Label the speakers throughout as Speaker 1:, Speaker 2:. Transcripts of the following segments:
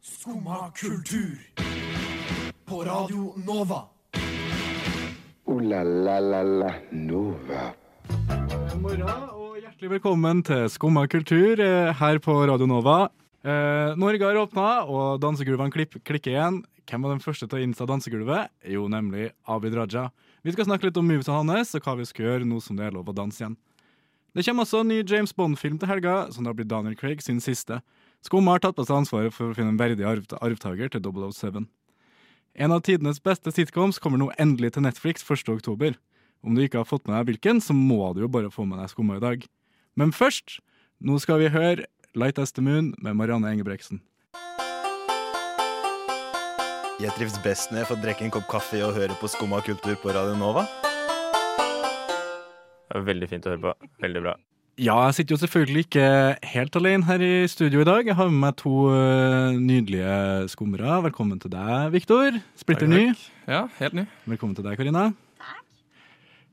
Speaker 1: Skumma kultur. På Radio Nova.
Speaker 2: Ooh la la la la Nova.
Speaker 3: Eh, morgen og hjertelig velkommen til Skumma kultur eh, her på Radio Nova. Eh, Norge har åpna, og dansegulvene klipp, klikker igjen. Hvem var den første til å innse dansegulvet? Jo, nemlig Abid Raja. Vi skal snakke litt om movesa hans og hva vi skal gjøre nå som det er lov å danse igjen. Det kommer også en ny James Bond-film til helga, som da blir Daniel Craig sin siste. Skumma har tatt på seg ansvaret for å finne en verdig arv arvtaker til 007. En av tidenes beste sitcoms kommer nå endelig til Netflix 1. oktober. Om du ikke har fått med deg hvilken, så må du jo bare få med deg skumma i dag. Men først, nå skal vi høre Light As The Moon med Marianne Engebreksen.
Speaker 4: Jeg trives best når jeg får drikke en kopp kaffe og høre på Skumma kultur på Radio Nova.
Speaker 5: Det var Veldig fint å høre på. Veldig bra.
Speaker 3: Ja, jeg sitter jo selvfølgelig ikke helt alene her i studio i dag. Jeg har med meg to øh, nydelige skumrere. Velkommen til deg, Viktor. Splitter
Speaker 6: Takk,
Speaker 3: ny.
Speaker 6: Ja, helt ny.
Speaker 3: Velkommen til deg, Karina.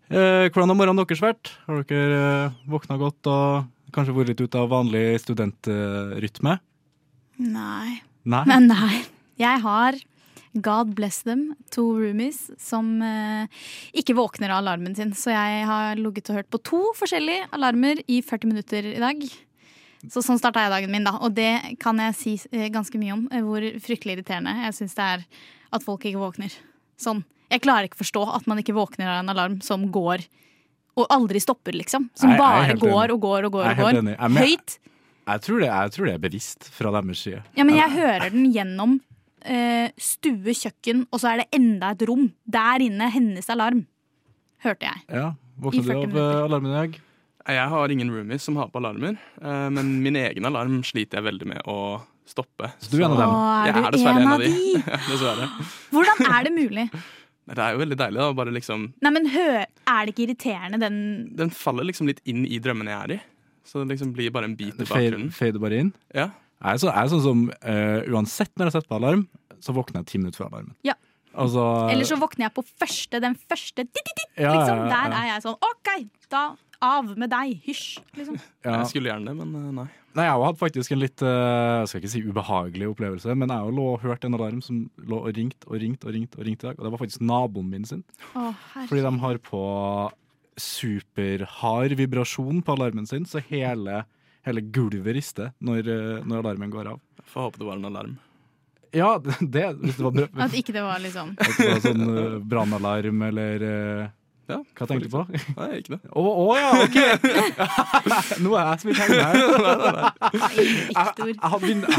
Speaker 3: Eh, hvordan har morgenen deres vært? Har dere eh, våkna godt og kanskje vært litt ute av vanlig studentrytme?
Speaker 7: Nei.
Speaker 3: Nei?
Speaker 7: Men nei. Jeg har God bless them, to roomies som eh, ikke våkner av alarmen sin. Så jeg har ligget og hørt på to forskjellige alarmer i 40 minutter i dag. Så sånn starta jeg dagen min, da. Og det kan jeg si eh, ganske mye om. eh, Hvor fryktelig irriterende jeg syns det er at folk ikke våkner. Sånn. Jeg klarer ikke forstå at man ikke våkner av en alarm som går og aldri stopper, liksom.
Speaker 3: Nei,
Speaker 7: Som
Speaker 3: jeg er
Speaker 7: bare
Speaker 3: helt
Speaker 7: går
Speaker 3: enig.
Speaker 7: og går og går
Speaker 3: Jeg er
Speaker 7: og
Speaker 3: helt
Speaker 7: går.
Speaker 3: enig. Jeg er med-
Speaker 7: Høyt.
Speaker 3: Jeg tror, det, jeg tror det er bevisst fra deres side.
Speaker 7: Ja, men jeg hører den gjennom eh, stue, kjøkken, og så er det enda et rom. Der inne hennes alarm, hørte jeg.
Speaker 3: Ja,
Speaker 7: I
Speaker 3: Våkna du
Speaker 7: 40
Speaker 3: av
Speaker 7: minutter.
Speaker 3: eh, alarmen i dag?
Speaker 6: Jeg har ingen roomies som har på alarmer, eh, men min egen alarm sliter jeg veldig med å stoppe.
Speaker 3: Så du er en av
Speaker 7: Å,
Speaker 3: dem?
Speaker 7: er
Speaker 6: Jeg
Speaker 7: du
Speaker 6: er dessverre en av de.
Speaker 7: de?
Speaker 6: Dessverre.
Speaker 7: Hvordan er det mulig?
Speaker 6: Men Det er jo veldig deilig. da, bare liksom,
Speaker 7: Nei, men hø, er det ikke irriterende, den
Speaker 6: Den faller liksom litt inn i drømmene jeg er i. Så det liksom blir bare en bit i
Speaker 3: Det fader
Speaker 6: bakgrunnen.
Speaker 3: fader bare inn?
Speaker 6: Ja.
Speaker 3: Jeg er, så, jeg er sånn som eh, uansett når jeg setter på alarm, så våkner jeg ti minutter før alarmen.
Speaker 7: Ja.
Speaker 3: Altså,
Speaker 7: Eller så våkner jeg på første, den første dit, dit, dit,
Speaker 3: Ja,
Speaker 7: liksom.
Speaker 3: ja, ja.
Speaker 7: Der er jeg sånn, OK, da av med deg, hysj. Liksom.
Speaker 3: ja.
Speaker 6: Jeg skulle gjerne det, men eh, nei.
Speaker 3: Nei, jeg har hatt faktisk en litt eh, jeg skal ikke si ubehagelig opplevelse, men jeg har lå og hørt en alarm som lå og ringte og ringte og ringte og ringte i dag. Og det var faktisk naboen min sin.
Speaker 7: Å,
Speaker 3: Fordi
Speaker 7: herre.
Speaker 3: de har på superhard vibrasjon på alarmen sin, så hele, hele gulvet rister når, eh, når alarmen går av.
Speaker 6: Får håpe det var en alarm.
Speaker 3: Ja, det, hvis det var brø-
Speaker 7: At ikke det var liksom
Speaker 3: At det var sånn uh, brannalarm eller eh,
Speaker 6: Ja,
Speaker 3: Hva tenkte du på?
Speaker 6: Nei, ikke det.
Speaker 3: Å å, ja, OK! Nå er jeg som ikke henger her.
Speaker 7: Viktor.
Speaker 3: Jeg hadde, vind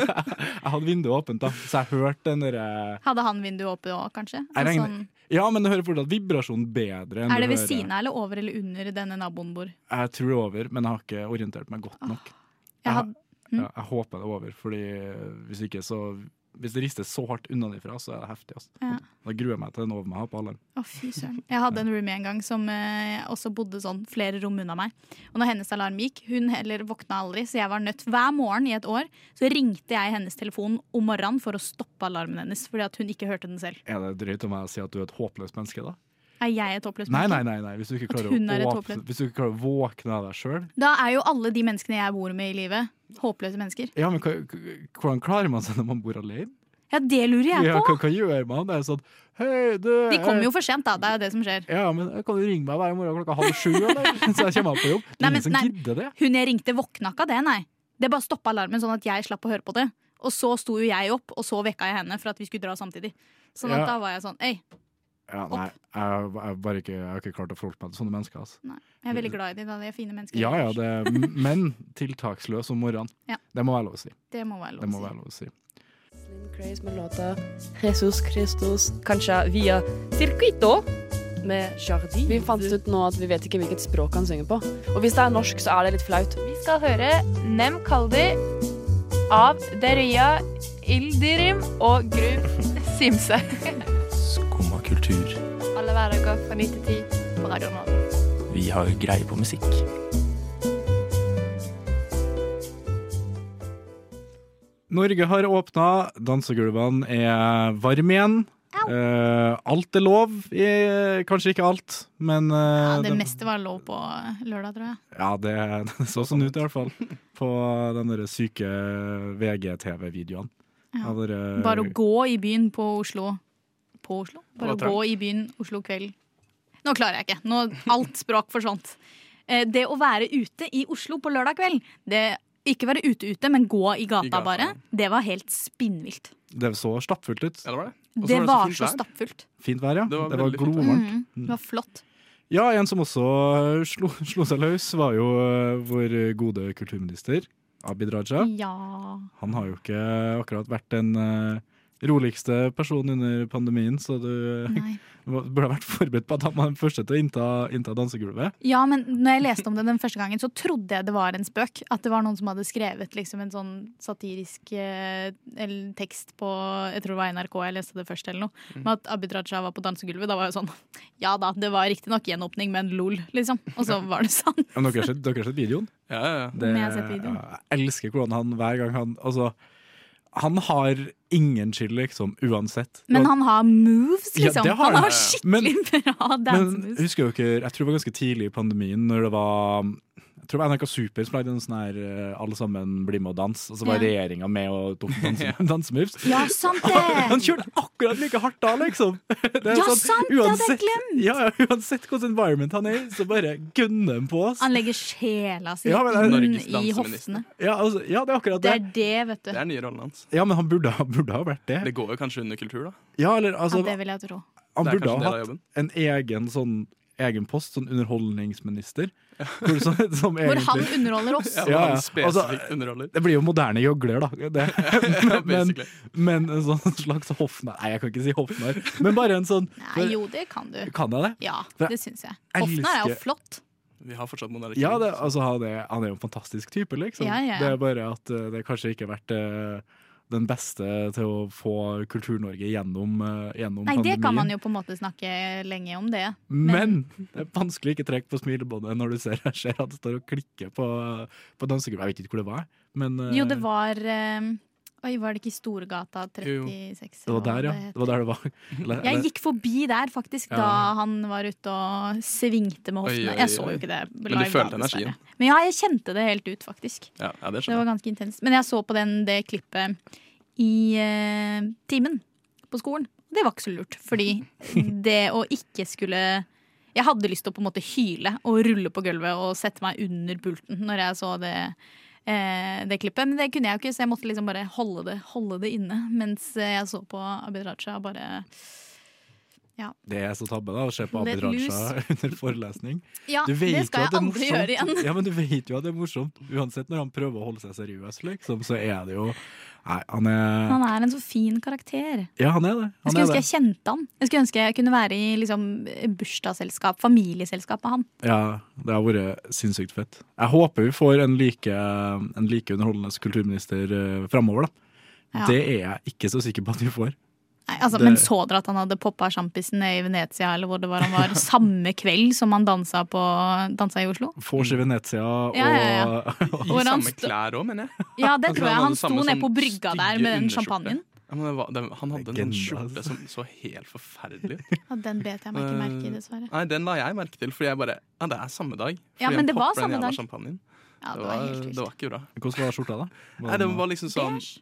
Speaker 3: jeg hadde vinduet åpent, da, så jeg hørte den derre
Speaker 7: Hadde han vinduet åpne òg, kanskje?
Speaker 3: Jeg
Speaker 7: Og
Speaker 3: regner-
Speaker 7: sånn,
Speaker 3: Ja, men du hører fortsatt vibrasjonen bedre. enn
Speaker 7: er det
Speaker 3: du
Speaker 7: ved
Speaker 3: hører-
Speaker 7: siden av eller over eller under denne naboen bor?
Speaker 3: Jeg tror det er over, men jeg har ikke orientert meg godt nok.
Speaker 7: Jeg
Speaker 3: Ja.
Speaker 7: hadde Ah, Mm.
Speaker 3: Ja, jeg håper det er over, fordi eh, hvis ikke så Hvis det rister så hardt unnanifra, så er det heftig. Altså.
Speaker 7: Ja.
Speaker 3: Da gruer jeg meg til den over meg har på alarm.
Speaker 7: Å, fy søren. Jeg hadde en roomie en gang som eh, også bodde sånn flere rom unna meg. Og når hennes alarm gikk, hun heller våkna aldri, så jeg var nødt hver morgen i et år, så ringte jeg hennes telefon om morgenen for å stoppe alarmen hennes, fordi at hun ikke hørte den selv.
Speaker 3: Er det drøyt om jeg sier at du er et håpløst menneske, da?
Speaker 7: Er jeg et håpløst
Speaker 3: Nei, nei,
Speaker 7: menneske?
Speaker 3: nei, nei. Hvis, du ikke
Speaker 7: At
Speaker 3: klarer
Speaker 7: hun er et
Speaker 3: å åpne,
Speaker 7: håpløst-
Speaker 3: hvis du ikke klarer å våkne av deg sjøl
Speaker 7: Da er jo alle de menneskene jeg bor med i livet, håpløse mennesker.
Speaker 3: Ja, men hva- hva- hvordan klarer man seg når man bor alene?
Speaker 7: Ja, det lurer jeg
Speaker 3: Ja,
Speaker 7: på!
Speaker 3: hva, hva gjør man? Det er sånn Hei, du
Speaker 7: De kommer jo for sent, da. Det er jo det som skjer.
Speaker 3: Ja, men kan du ringe meg hver morgen klokka halv sju, eller? Så jeg kommer meg på jobb. Det
Speaker 7: Nei,
Speaker 3: er
Speaker 7: men-
Speaker 3: ingen som
Speaker 7: nei.
Speaker 3: gidder det.
Speaker 7: Hun jeg ringte våkna ikke av det, nei. Det bare stoppa alarmen, sånn at jeg slapp å høre på det. Og så sto jo jeg opp, og så vekka jeg henne for at vi skulle dra samtidig. Sånn at
Speaker 3: Ja.
Speaker 7: da var jeg sånn Øy,
Speaker 3: Ja, nei, jeg, jeg, bare ikke, jeg har ikke klart å forholde meg til sånne mennesker. Altså.
Speaker 7: jeg er veldig glad i de, da. De er fine mennesker.
Speaker 3: Ja, ja, det, men tiltaksløs om morgenen.
Speaker 7: Ja.
Speaker 3: Det må være lov å si.
Speaker 7: Det må være
Speaker 3: Det må
Speaker 7: lov å
Speaker 3: være lov å si.
Speaker 8: Slim Craze med låta Jesus Christus, kanskje via Circuito med Jardi. Vi fant ut nå at vi vet ikke hvilket språk han synger på. Og hvis det er norsk, så er det litt flaut.
Speaker 9: Vi skal høre Nem Kaldi av Deria Ildirim og Gru Simse.
Speaker 5: Skumma kultur.
Speaker 9: Alle hverdager fra 9 til 10 på Radio Nova.
Speaker 5: Vi har greie på musikk.
Speaker 3: Norge har åpna, dansegulvene er varme igjen. Eh, alt er lov. I, kanskje ikke alt, men
Speaker 7: si. Ja,
Speaker 3: eh,
Speaker 7: det
Speaker 3: den-
Speaker 7: meste var lov på lørdag, tror jeg.
Speaker 3: Ja, det, det så sånn ut i hvert fall. På den der syke VGTV-videoen.
Speaker 7: Ja.
Speaker 3: Av dere-
Speaker 7: Bare å gå i byen på Oslo På Oslo? Bare å
Speaker 6: Det var
Speaker 7: gå i byen Oslo kveld. Nå klarer jeg ikke. Nå, alt språk forsvant. Eh, Det å være ute i Oslo på lørdag kveld det, Ikke være ute ute, men gå i gata,
Speaker 6: I gata,
Speaker 7: bare. Det var helt spinnvilt.
Speaker 3: Det så stappfullt ut.
Speaker 6: Ja, det var det. Og så
Speaker 7: Det
Speaker 6: var
Speaker 7: var så
Speaker 6: det så fint vær.
Speaker 7: stappfullt.
Speaker 3: Fint vær, ja. Det
Speaker 6: Det
Speaker 3: var,
Speaker 6: var veldig fint vær.
Speaker 3: glovarmt.
Speaker 7: Mhm. Det var flott.
Speaker 3: Ja, en som også eh, slo, slo seg løs, var jo eh, vår gode kulturminister, Abid Raja.
Speaker 7: Ja.
Speaker 3: Han har jo ikke akkurat vært den eh, roligste personen under pandemien, så du eh,
Speaker 7: Nei.
Speaker 3: burde ha vært forberedt på at han var den første til å innta, innta dansegulvet.
Speaker 7: Ja, men når jeg leste om det den første gangen, så trodde jeg det var en spøk. At det var noen som hadde skrevet liksom, en sånn satirisk eh, eller, tekst på Jeg tror det var NRK jeg leste det først, eller noe.
Speaker 3: Mm.
Speaker 7: Men at Abid Raja var på dansegulvet, da var jeg sånn Ja da, det var riktignok gjenåpning, men lol, liksom. Og så var det sant.
Speaker 3: Men dere har sett, dere har sett videoen?
Speaker 6: Ja, ja, ja.
Speaker 7: Men jeg har sett videoen.
Speaker 3: ja, jeg elsker hvordan han hver gang han Altså, han har ingen chill, liksom, uansett.
Speaker 7: Men han har moves,
Speaker 3: Ja,
Speaker 7: liksom.
Speaker 3: det har
Speaker 7: han
Speaker 3: han.
Speaker 7: har skikkelig bra
Speaker 3: Men
Speaker 7: dansemoves.
Speaker 3: husker dere, jeg tror det var ganske tidlig i pandemien, når det var jeg tror det var NRK Super som lagde en sånn her eh, Alle sammen bli med og dans, og så var
Speaker 7: Ja.
Speaker 3: regjeringa med og tok danse, dansemoves.
Speaker 7: Ja, sant
Speaker 3: Han
Speaker 7: det!
Speaker 3: kjørte akkurat like hardt da, liksom! Det er
Speaker 7: Ja, sant, det hadde jeg glemt.
Speaker 3: Ja, ja, uansett hvordan environment han er i, så bare gønner han på oss.
Speaker 7: Han legger sjela si
Speaker 3: Ja, men det er-
Speaker 7: inn
Speaker 6: Norges
Speaker 7: i
Speaker 6: danseminister.
Speaker 7: hoftene.
Speaker 3: Ja, altså, ja, det er akkurat
Speaker 7: Det
Speaker 3: det.
Speaker 7: er det, vet du.
Speaker 6: Det er nye rollen hans.
Speaker 3: Ja, men han burde, ha- burde ha vært det.
Speaker 6: Det går jo kanskje under kultur, da.
Speaker 3: Ja, eller
Speaker 7: Ja,
Speaker 3: altså
Speaker 7: det vil jeg tro.
Speaker 3: Han
Speaker 6: Det er
Speaker 3: burde
Speaker 6: kanskje en
Speaker 3: ha
Speaker 6: del av
Speaker 3: hatt
Speaker 6: jobben.
Speaker 3: en egen sånn egen post, sånn underholdningsminister. Hvor, så, som
Speaker 7: Hvor
Speaker 3: egentlig,
Speaker 7: han underholder oss.
Speaker 6: Ja,
Speaker 3: Ja, ja.
Speaker 6: Han spesifikt
Speaker 3: Altså,
Speaker 6: underholder.
Speaker 3: Det blir jo moderne gjøgler, da. Det.
Speaker 6: Ja,
Speaker 3: Men,
Speaker 6: basically.
Speaker 3: men en sånn slags hoffnarr Nei, jeg kan ikke si hoffnarr, men bare en sånn
Speaker 7: Nei, jo, det kan du.
Speaker 3: Kan jeg det?
Speaker 7: Ja,
Speaker 3: For
Speaker 7: det syns jeg.
Speaker 3: jeg
Speaker 7: Hofnar er jo
Speaker 3: elsker-
Speaker 7: flott.
Speaker 6: Vi har fortsatt monarki.
Speaker 3: Ja, det, altså, han, er, han er jo en fantastisk type, liksom.
Speaker 7: Ja, ja.
Speaker 3: Det er bare at eh, det kanskje ikke har vært eh, den beste til å få Kultur-Norge gjennom, eh, gjennom
Speaker 7: Nei, det
Speaker 3: pandemien. Eh.
Speaker 7: kan man jo på en måte snakke lenge om, det.
Speaker 3: Men det er vanskelig å ikke trekke på smilebåndet når du ser, jeg ser at det står og klikker på, på dansegulvet. Jeg vet ikke hvor det var, men eh,
Speaker 7: Jo, det var eh, Oi, var det ikke Storgata 36?
Speaker 3: det var
Speaker 7: eller hva
Speaker 3: der, ja.
Speaker 7: het?
Speaker 3: Det var der det var. Eller-
Speaker 7: Jeg
Speaker 3: eller-
Speaker 7: gikk forbi der faktisk da
Speaker 3: Ja.
Speaker 7: han var ute og svingte med hoftene.
Speaker 6: Oi, oi,
Speaker 7: Jeg så
Speaker 6: oi.
Speaker 7: jo ikke det.
Speaker 6: du
Speaker 7: live da,
Speaker 6: følte
Speaker 7: dessverre.
Speaker 6: energien?
Speaker 7: Men ja, jeg kjente det helt ut, faktisk.
Speaker 6: Ja, ja, det
Speaker 7: Det
Speaker 6: skjønner jeg.
Speaker 7: var ganske intenst. Men jeg så på den, det klippet i eh, timen på skolen. Det var ikke så lurt, fordi det å ikke skulle Jeg hadde lyst til å på en måte hyle og rulle på gulvet og sette meg under pulten når jeg så det, eh, det klippet. Men det kunne jeg jo ikke, så jeg måtte liksom bare holde det, holde det inne mens jeg så på Abid Raja bare
Speaker 3: Det er så tabbe, da, å se på
Speaker 7: Det
Speaker 3: Abid
Speaker 7: er
Speaker 3: Raja
Speaker 7: lus.
Speaker 3: under forelesning.
Speaker 7: Ja,
Speaker 3: Du vet
Speaker 7: Ah, det skal
Speaker 3: jo at det
Speaker 7: jeg
Speaker 3: er
Speaker 7: aldri gjøre igjen.
Speaker 3: morsomt. Ja, men du vet jo at det er morsomt. Uansett, når han prøver å holde seg seriøs, liksom, så er det jo Nei, han er
Speaker 7: Han er en så fin karakter.
Speaker 3: Ja, han er det.
Speaker 7: Jeg
Speaker 3: Han er
Speaker 7: skulle ønske
Speaker 3: det.
Speaker 7: jeg kjente han. Jeg skulle ønske jeg kunne være i liksom, bursdagsselskap, familieselskap med han.
Speaker 3: Ja, det har vært sinnssykt fett. Jeg håper vi får en like, en like underholdende kulturminister uh, framover, da.
Speaker 7: Ja.
Speaker 3: Det er jeg ikke så sikker på at vi får.
Speaker 7: Nei, altså,
Speaker 3: Det-
Speaker 7: Men så dere at han hadde poppa sjampisen i Venezia eller hvor det var han var, samme kveld som han dansa, på, dansa i Oslo?
Speaker 3: Vors i Venezia og
Speaker 7: Ja, ja,
Speaker 6: I
Speaker 7: Hvor han
Speaker 6: samme
Speaker 7: sto-
Speaker 6: klær òg, mener jeg.
Speaker 7: Ja, det
Speaker 6: Jeg tror
Speaker 7: tror jeg.
Speaker 6: han
Speaker 7: Han
Speaker 6: hadde
Speaker 7: sto
Speaker 6: samme
Speaker 7: ned
Speaker 6: sånn
Speaker 7: på brygga der med den
Speaker 6: stygge
Speaker 7: champagnen.
Speaker 6: Ja, men det var, det, han hadde en sånn
Speaker 3: Legende, altså.
Speaker 6: skjorte som så helt forferdelig ut.
Speaker 7: Ja, den bet jeg meg ikke merke i, dessverre.
Speaker 6: Nei, den la jeg merke til, fordi jeg bare Ja, det er samme dag.
Speaker 7: Ja,
Speaker 6: Fordi
Speaker 7: men
Speaker 6: han
Speaker 7: det var
Speaker 6: popper den
Speaker 7: samme
Speaker 6: jævla
Speaker 7: dag.
Speaker 6: champagnen.
Speaker 7: Ja,
Speaker 6: Det
Speaker 7: det var
Speaker 6: var,
Speaker 7: helt
Speaker 6: det var
Speaker 7: vilt.
Speaker 6: ikke bra.
Speaker 3: Hvordan var skjorta, da?
Speaker 6: Nei, den var liksom sånn
Speaker 7: Beige.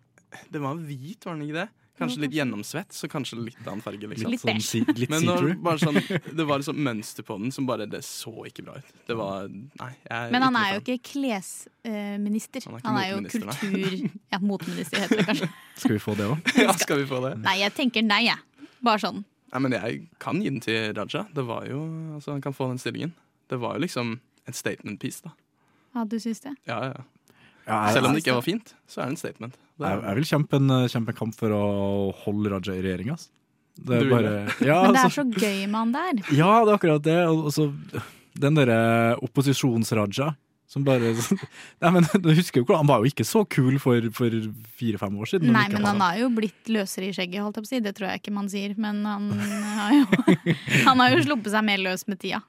Speaker 6: Den var hvit, var den ikke det? Kanskje litt gjennomsvett, så kanskje litt annen farge, liksom.
Speaker 7: Litt
Speaker 3: sånn,
Speaker 7: beige.
Speaker 3: si, litt
Speaker 6: Men når,
Speaker 3: see-through.
Speaker 6: bare sånn, det var liksom mønster på den som bare Det så ikke bra ut. Det var Nei. Jeg,
Speaker 7: Men han er jo ikke klesminister.
Speaker 6: eh, Han er ikke
Speaker 7: Han er jo
Speaker 6: motminister, nei.
Speaker 7: kultur... Ja, motminister heter det kanskje.
Speaker 3: Skal vi få det òg?
Speaker 6: Ja, skal vi få det?
Speaker 7: Nei, jeg tenker nei, jeg. Bare sånn.
Speaker 6: Nei, men jeg kan gi den til Raja. Det var jo Altså, han kan få den stillingen. Det var jo liksom en statement piece, da.
Speaker 7: Ja, du syns det?
Speaker 6: Ja, ja.
Speaker 3: Ja,
Speaker 6: Selv
Speaker 3: jeg,
Speaker 6: om det ikke var fint, så er det en statement. Det
Speaker 3: jeg,
Speaker 6: er,
Speaker 3: jeg vil kjempe en, kjempe en kamp for å holde Raja i regjering, ass. Det
Speaker 6: Du
Speaker 3: er
Speaker 6: vil
Speaker 3: bare ja,
Speaker 7: Men det
Speaker 3: altså-
Speaker 7: er så gøy med han der.
Speaker 3: Ja, det er akkurat det. Og og så den derre opposisjonsraja som bare Nei, men du husker jo hvordan Han var jo ikke så kul for, for fire-fem år siden. når
Speaker 7: Nei,
Speaker 3: vi ikke
Speaker 7: men han
Speaker 3: hadde-
Speaker 7: har jo blitt løsere i skjegget, holdt jeg på å si. Det tror jeg ikke man sier. Men han har jo, han har jo sluppet seg mer løs med tida.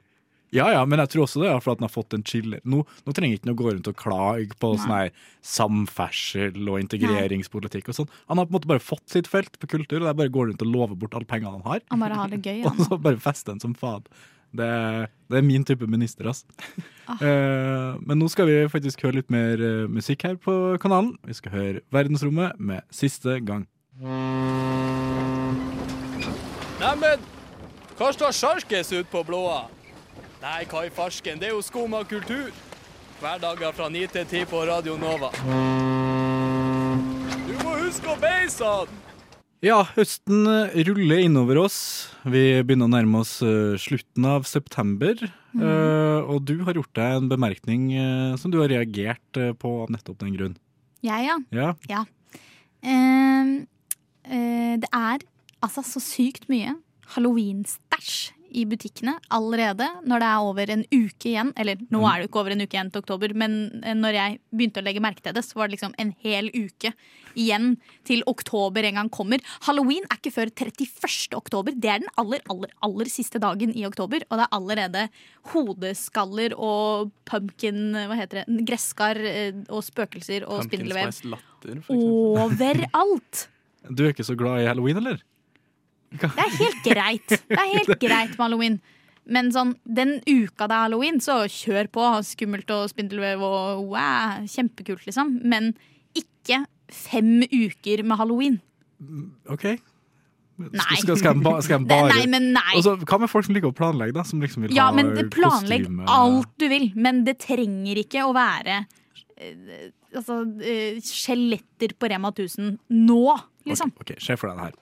Speaker 3: Ja, ja, men jeg tror også det er fordi han har fått en chiller. Nå, nå trenger ikke han å gå rundt og klage på sånn her samferdsel og integreringspolitikk og sånn. Han har på en måte bare fått sitt felt på kultur, og der bare går rundt og lover bort alle pengene han har.
Speaker 7: Han bare har det gøy.
Speaker 3: Og
Speaker 7: Han.
Speaker 3: så bare feste den som faen. Det, det er min type minister, ass.
Speaker 7: Ah.
Speaker 3: Eh, men nå skal vi faktisk høre litt mer eh, musikk her på kanalen. Vi skal høre Verdensrommet med Siste gang.
Speaker 6: Neimen, hva står sjarkes ut på blåa? Nei, hva i farsken, det er jo skum av kultur. Hverdager fra 9 til 10 på Radio Nova. Du må huske å beise han!
Speaker 3: Ja, høsten eh, ruller innover oss. Vi begynner å nærme oss eh, slutten av september.
Speaker 7: Mm.
Speaker 3: Eh, og du har gjort deg en bemerkning eh, som du har reagert eh, på av nettopp den grunn.
Speaker 7: Jeg, ja.
Speaker 3: Ja,
Speaker 7: Ehm, eh, det er altså så sykt mye halloween-stæsj i butikkene allerede når det er over en uke igjen. Eller nå er det jo ikke over en uke igjen til oktober, men eh, når jeg begynte å legge merke til det, så var det liksom en hel uke igjen til oktober en gang kommer. Halloween er ikke før 31. oktober. Det er den aller, aller, aller siste dagen i oktober, og det er allerede hodeskaller og pumpkin Hva heter det? Gresskar eh, og spøkelser og
Speaker 6: Pumpkin
Speaker 7: spindelvev
Speaker 6: spice latter, for eksempel.
Speaker 7: overalt.
Speaker 3: Du er ikke så glad i halloween, eller?
Speaker 7: Det er helt greit. Det er helt greit med halloween. Men sånn, den uka det er halloween, så kjør på. Skummelt og spindelvev og wow, kjempekult, liksom. Men ikke fem uker med halloween.
Speaker 3: OK.
Speaker 7: Nei.
Speaker 3: Skal, skal, jeg ba, skal jeg
Speaker 7: Det,
Speaker 3: bare
Speaker 7: nei, men nei.
Speaker 3: Altså, Hva med folk som liker å planlegge, da? Som liksom vil
Speaker 7: Ja,
Speaker 3: ha
Speaker 7: men planlegg
Speaker 3: kostyme.
Speaker 7: alt du vil. Men det trenger ikke å være eh, altså, eh, skjeletter på Rema 1000 nå, liksom.
Speaker 3: Ok, ok, se for deg det her.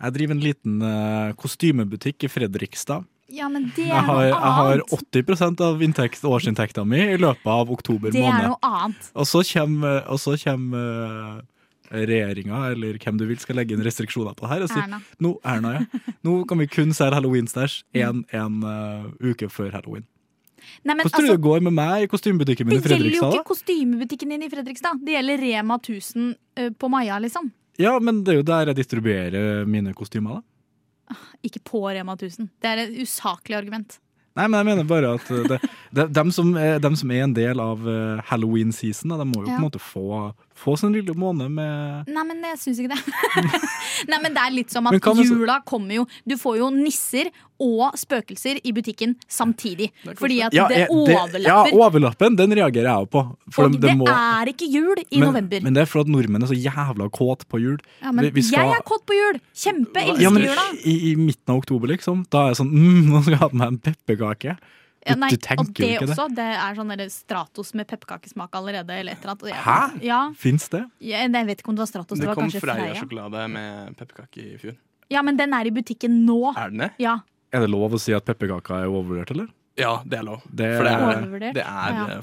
Speaker 3: Jeg driver en liten eh, kostymebutikk i Fredrikstad.
Speaker 7: Ja, men det
Speaker 3: Jeg
Speaker 7: er
Speaker 3: har,
Speaker 7: noe
Speaker 3: jeg har
Speaker 7: annet.
Speaker 3: 80 av inntekt, årsinntekta mi i løpet av oktober
Speaker 7: Det er
Speaker 3: måned.
Speaker 7: noe annet.
Speaker 3: Og så kommer, og så kommer eh, regjeringa, eller hvem du vil, skal legge inn restriksjoner på det her. Og si,
Speaker 7: Erna.
Speaker 3: Nå, Erna, ja. Nå kan vi kun se halloween-stæsj en, en eh, uke før halloween.
Speaker 7: Nei, men,
Speaker 3: Hvordan tror du
Speaker 7: altså,
Speaker 3: det går med meg i kostymebutikken min i
Speaker 7: Det gjelder jo
Speaker 3: Fredrikstad?
Speaker 7: ikke
Speaker 3: da?
Speaker 7: kostymebutikken din i Fredrikstad. Det gjelder Rema 1000 ø, på Maja, liksom.
Speaker 3: Ja, men det er jo der jeg distribuerer mine kostymer, da.
Speaker 7: Ikke på Rema 1000. Det er et usaklig argument.
Speaker 3: Nei, men jeg mener bare at eh, det, det, dem, som er, dem som er en del av eh, halloween-season, da, de må jo
Speaker 7: Ja.
Speaker 3: på en måte få, få sin lille måned med
Speaker 7: Nei, men jeg syns ikke det. Nei, men det er litt som at
Speaker 3: Men hva med så-
Speaker 7: jula kommer jo Du får jo nisser og spøkelser i butikken samtidig.
Speaker 6: Det er koselig.
Speaker 7: Fordi at
Speaker 3: Ja,
Speaker 7: det
Speaker 3: eh,
Speaker 7: overlapper.
Speaker 3: ja, overlappen, den reagerer jeg jo på. For
Speaker 7: og
Speaker 3: de- de
Speaker 7: det
Speaker 3: må-
Speaker 7: er ikke jul i
Speaker 3: men,
Speaker 7: november.
Speaker 3: Men det er fordi at nordmenn er så jævla kåt på jul.
Speaker 7: ja, men
Speaker 3: vi- vi skal-
Speaker 7: Jeg er kåt på jul! Kjempe! Elsker
Speaker 3: Ja, men
Speaker 7: jula!
Speaker 3: i, I midten av oktober, liksom. Da er jeg sånn mm, Nå skal jeg ha på meg en pepperkake.
Speaker 7: Ja, nei,
Speaker 3: du tenker
Speaker 7: og det
Speaker 3: jo ikke det.
Speaker 7: også. Det er sånn der Stratos med pepperkakesmak allerede. Eller et eller annet.
Speaker 3: Hæ?
Speaker 7: Ja,
Speaker 3: Fins det?
Speaker 7: Ja, jeg vet ikke om det var Stratos. Det,
Speaker 6: Det
Speaker 7: var
Speaker 6: kom
Speaker 7: kanskje Freia.
Speaker 6: Freia-sjokolade med pepperkake i fjor.
Speaker 7: Ja, men den er i butikken nå.
Speaker 6: Er den det?
Speaker 7: Ja,
Speaker 3: Er det lov å si at pepperkaker er overvurdert, eller?
Speaker 6: Ja, det er lov.
Speaker 3: Det er-
Speaker 6: For det er,
Speaker 7: Overvurdert.
Speaker 6: det
Speaker 7: Ja.
Speaker 6: er eh,
Speaker 7: Det er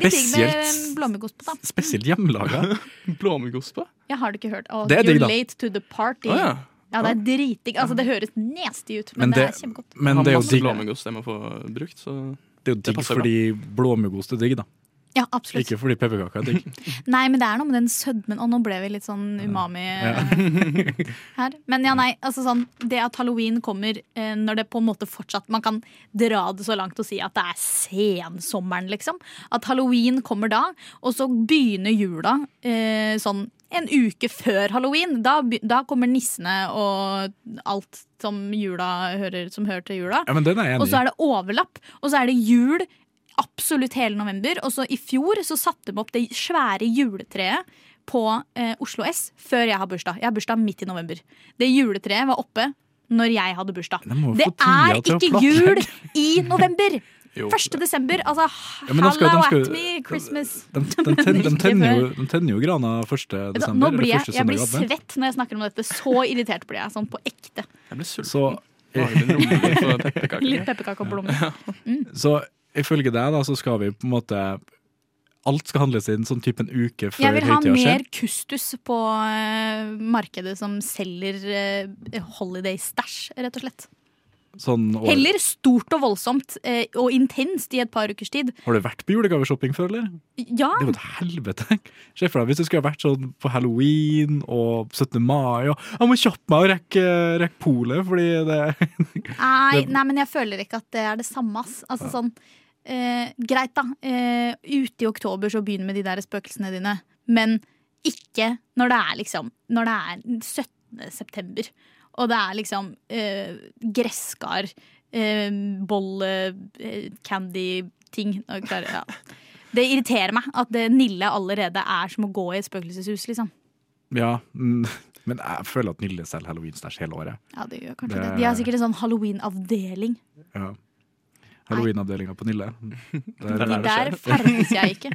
Speaker 7: veldig digg med
Speaker 3: Spesielt.
Speaker 7: blåmuggost på, da.
Speaker 3: Spesielt hjemmelaga.
Speaker 6: Blåmuggost på?
Speaker 7: Jeg har det ikke hørt. Oh,
Speaker 3: Det er digg,
Speaker 7: you're
Speaker 3: da.
Speaker 7: late to the party.
Speaker 6: Å ja.
Speaker 7: Ja, det er dritdigg. Altså, det høres nasty ut, men,
Speaker 3: Men
Speaker 7: det,
Speaker 3: det-
Speaker 7: er kjempegodt.
Speaker 3: Men det er jo
Speaker 6: masse
Speaker 3: digg,
Speaker 6: blåmuggost jeg må få brukt, så
Speaker 3: det er jo
Speaker 6: Det
Speaker 3: digg
Speaker 6: passer bra.
Speaker 3: fordi blåmuggost er digg, da.
Speaker 7: Ja, absolutt.
Speaker 3: Ikke fordi pepperkaker er digg.
Speaker 7: Nei, men det er noe med den sødmen. Og nå ble vi litt sånn umami eh, her. Men ja, nei, altså sånn Det at halloween kommer eh, når det på en måte fortsatt Man kan dra det så langt og si at det er sensommeren, liksom. At halloween kommer da, og så begynner jula eh, sånn en uke før halloween. Da, be- da kommer nissene og alt som, jula hører, som hører til jula.
Speaker 3: Ja, men den er jeg
Speaker 7: Og
Speaker 3: enig
Speaker 7: så
Speaker 3: i.
Speaker 7: er det overlapp, og så er det jul absolutt hele november. Og så i fjor så satte de opp det svære juletreet på eh, Oslo S før jeg har bursdag. Jeg har bursdag midt i november. Det juletreet var oppe når jeg hadde bursdag.
Speaker 3: De må jo
Speaker 7: Det
Speaker 3: få
Speaker 7: er
Speaker 3: tida til å
Speaker 7: ikke jul
Speaker 3: planlegge.
Speaker 7: i november!
Speaker 6: jo.
Speaker 7: 1. desember, altså
Speaker 3: Ja, men da skal- da
Speaker 7: hallo
Speaker 3: skal-
Speaker 7: at me, Christmas.
Speaker 3: De, de, ten, de,
Speaker 7: Ikke
Speaker 3: tenner jo,
Speaker 7: før.
Speaker 3: de tenner jo grana 1.
Speaker 7: Vet du hva,
Speaker 3: desember.
Speaker 7: Nå
Speaker 3: eller
Speaker 7: blir jeg,
Speaker 3: første
Speaker 7: jeg blir
Speaker 3: søndag i advent.
Speaker 7: svett når jeg snakker om dette. Så irritert blir jeg, sånn på ekte.
Speaker 6: Jeg ble sulten.
Speaker 3: Så
Speaker 6: Bare en rommegodt og pepperkake.
Speaker 7: Litt pepperkake og blomster.
Speaker 3: Så ifølge deg da, så skal vi på en måte Alt skal handles inn sånn type en uke før
Speaker 7: Jeg vil ha
Speaker 3: høytida skjer.
Speaker 7: mer kustus på eh, markedet som selger eh, holiday-stæsj, rett og slett.
Speaker 3: Sånn, år-
Speaker 7: Heller stort og voldsomt eh, og intenst i et par ukers tid.
Speaker 3: har du vært på julegaveshopping før, eller?
Speaker 7: Ja,
Speaker 3: Det er jo et helvete. Se for deg hvis du skulle ha vært sånn på halloween og 17. mai og Jeg må kjappe meg og rekke, rekke polet, fordi det
Speaker 7: nei,
Speaker 3: det-
Speaker 7: nei, men jeg føler ikke at det er det samme, ass. Altså sånn eh, Greit, da. Eh, ute i oktober så begynn med de der spøkelsene dine. Men ikke når det er liksom Når det er 17. september, og det er liksom eh, gresskar, eh, bolle, eh, candy-ting. Nå klarer jeg ja. Det irriterer meg at det Nille allerede er som å gå i et spøkelseshus, liksom.
Speaker 3: Ja, mm, men jeg føler at Nille selger halloweenstæsj hele året.
Speaker 7: Ja, det gjør kanskje det.
Speaker 3: Det-
Speaker 7: De har sikkert en sånn halloween-avdeling.
Speaker 3: Ja. Halloween-avdelinga på Nille. Der,
Speaker 7: Der ferdes jeg ikke.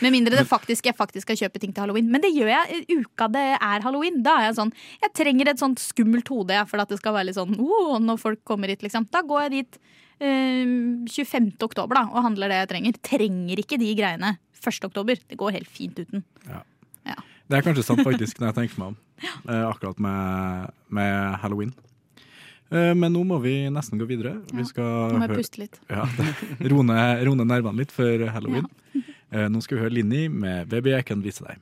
Speaker 7: Med mindre det faktisk, jeg faktisk skal kjøpe ting til halloween. Men det gjør jeg i uka det er halloween. Da er jeg sånn Jeg trenger et sånt skummelt hode jeg, for at det skal være litt sånn oh, når folk kommer hit, liksom. Da går jeg dit eh, 25. oktober da, og handler det jeg trenger. Trenger ikke de greiene 1. oktober. Det går helt fint uten.
Speaker 3: Det er kanskje sant faktisk når jeg tenker meg om, eh, akkurat med, med halloween. Eh, men nå må vi nesten gå videre.
Speaker 7: Ja,
Speaker 3: Vi skal
Speaker 7: Nå må jeg
Speaker 3: høre-
Speaker 7: puste litt.
Speaker 3: ja, det- roe ned roe ned nervene litt før halloween. Eh, nå skal vi høre Linni med 'Baby, jeg kan vise deg'.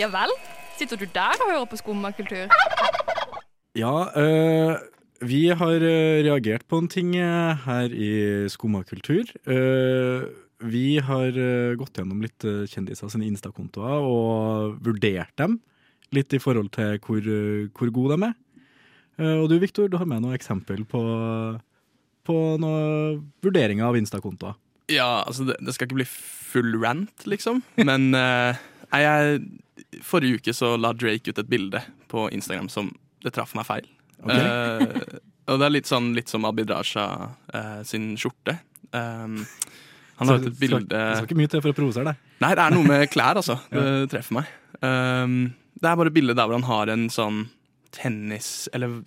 Speaker 9: Ja vel? Sitter du der og hører på skummakultur?
Speaker 3: Ja, eh, vi har eh, reagert på en ting eh, her i Skumma kultur. Eh, vi har eh, gått gjennom litt eh, kjendiser sine Insta-kontoer og vurdert dem litt i forhold til hvor, eh, hvor gode de er. Eh, og du, Viktor, du har med noen eksempel på, på noen vurderinger av Insta-kontoer.
Speaker 6: Ja, altså det, det skal ikke bli full rant, liksom. Men eh, nei, jeg, forrige uke så la Drake ut et bilde på Instagram som det traff meg feil.
Speaker 3: Ok.
Speaker 6: Eh, og det er litt sånn litt som Abid Raja eh, sin skjorte. Um,
Speaker 3: Så
Speaker 6: han har ut et
Speaker 3: det skal-
Speaker 6: bilde
Speaker 3: Det skal ikke mye til for å provosere deg.
Speaker 6: Nei, det er noe med klær, altså. Det treffer meg. Ehm, det er bare et bilde der hvor han har en sånn tennis- eller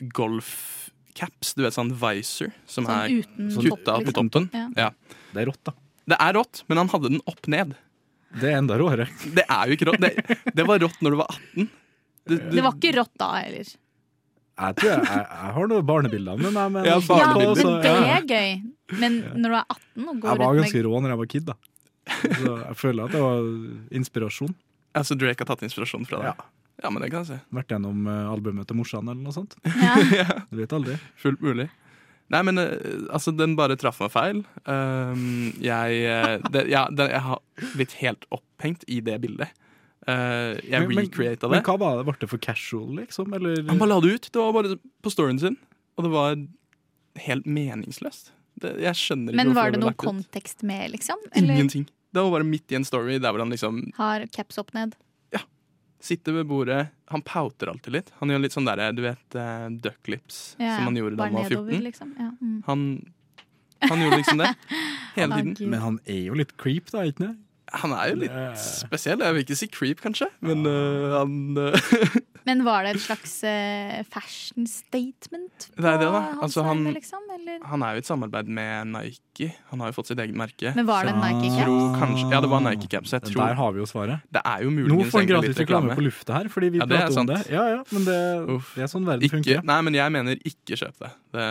Speaker 6: golfcaps. Du vet, sånn visor som
Speaker 7: Sånn
Speaker 6: er
Speaker 7: uten
Speaker 6: kutta på
Speaker 7: liksom.
Speaker 6: toppen.
Speaker 7: Ja.
Speaker 6: Ja.
Speaker 3: Det er rått, da.
Speaker 6: Det er rått, men han hadde den opp ned.
Speaker 3: Det er enda råere.
Speaker 6: Det er jo ikke rått. Det, det var rått når du var 18. Du, du,
Speaker 7: Det var ikke rått da heller.
Speaker 3: Jeg tror jeg, jeg, jeg har noen barnebilder med meg. men-
Speaker 6: Ja,
Speaker 7: Ja,
Speaker 6: barnebilder.
Speaker 7: men
Speaker 3: Så-
Speaker 7: det
Speaker 3: ja.
Speaker 7: er gøy. Men når du er 18 og går
Speaker 3: Jeg var
Speaker 7: rundt
Speaker 3: ganske rå når jeg var kid, da. Så jeg føler at det var inspirasjon.
Speaker 6: altså Drake har tatt inspirasjon fra deg. Ja, men det kan jeg se.
Speaker 3: Vært gjennom eh, albumet til morsan eller noe sånt.
Speaker 7: Ja.
Speaker 3: Du vet aldri.
Speaker 6: Fullt mulig. Nei, men eh, altså, den bare traff meg feil. Ehm, jeg, eh, det, ja, den, jeg har blitt helt opphengt i det bildet. Eh, jeg recreata det.
Speaker 3: Men hva var det? Ble det for casual, liksom? Eller?
Speaker 6: Han bare la det ut. Det var bare på storyen sin. Og det var helt meningsløst. Det, jeg skjønner ikke
Speaker 7: Men
Speaker 6: hvorfor
Speaker 7: var det
Speaker 6: ble
Speaker 7: noe
Speaker 6: lagt ut.
Speaker 7: kontekst med, liksom? Eller
Speaker 6: Ingenting. Det var bare midt i en story der hvor han liksom
Speaker 7: har caps opp ned?
Speaker 6: sitter ved bordet. Han pouter alltid litt. Han gjør litt sånn derre, du vet, uh, duck lips,
Speaker 7: Ja,
Speaker 6: som han gjorde da
Speaker 7: bare
Speaker 6: han var
Speaker 7: nedover,
Speaker 6: 14.
Speaker 7: Liksom. Ja. Mm.
Speaker 6: Han, han gjorde liksom det. Hele
Speaker 7: Å,
Speaker 6: tiden.
Speaker 7: Gud.
Speaker 3: Men han er jo litt creep, da, ikke sant?
Speaker 6: Han er jo litt spesiell. Jeg vil ikke si creep, kanskje, men øh, han øh,
Speaker 7: Men var det et slags eh, fashion statement?
Speaker 6: Det er det, da.
Speaker 7: på
Speaker 6: Altså,
Speaker 7: hans
Speaker 6: han-
Speaker 7: vegne, liksom, eller?
Speaker 6: Han er jo i et samarbeid med Nike. Han har jo fått sitt eget merke.
Speaker 7: Men var det en
Speaker 6: Jeg
Speaker 7: Nike-cap?
Speaker 6: tror kanskje, ja, det var Nike Caps. Jeg
Speaker 3: Der
Speaker 6: tror
Speaker 3: har vi jo svaret.
Speaker 6: det er jo
Speaker 3: Nå
Speaker 6: muligens
Speaker 3: får han
Speaker 6: egentlig
Speaker 3: gratis
Speaker 6: litt
Speaker 3: reklame
Speaker 6: reklame.
Speaker 3: på lufta her, fordi vi
Speaker 6: Ja, det er
Speaker 3: prater om det.
Speaker 6: sant.
Speaker 3: Ja, ja, men det,
Speaker 6: Uff.
Speaker 3: det er sånn verden
Speaker 6: Ikke,
Speaker 3: funker.
Speaker 6: nei, men jeg mener ikke kjøp det. det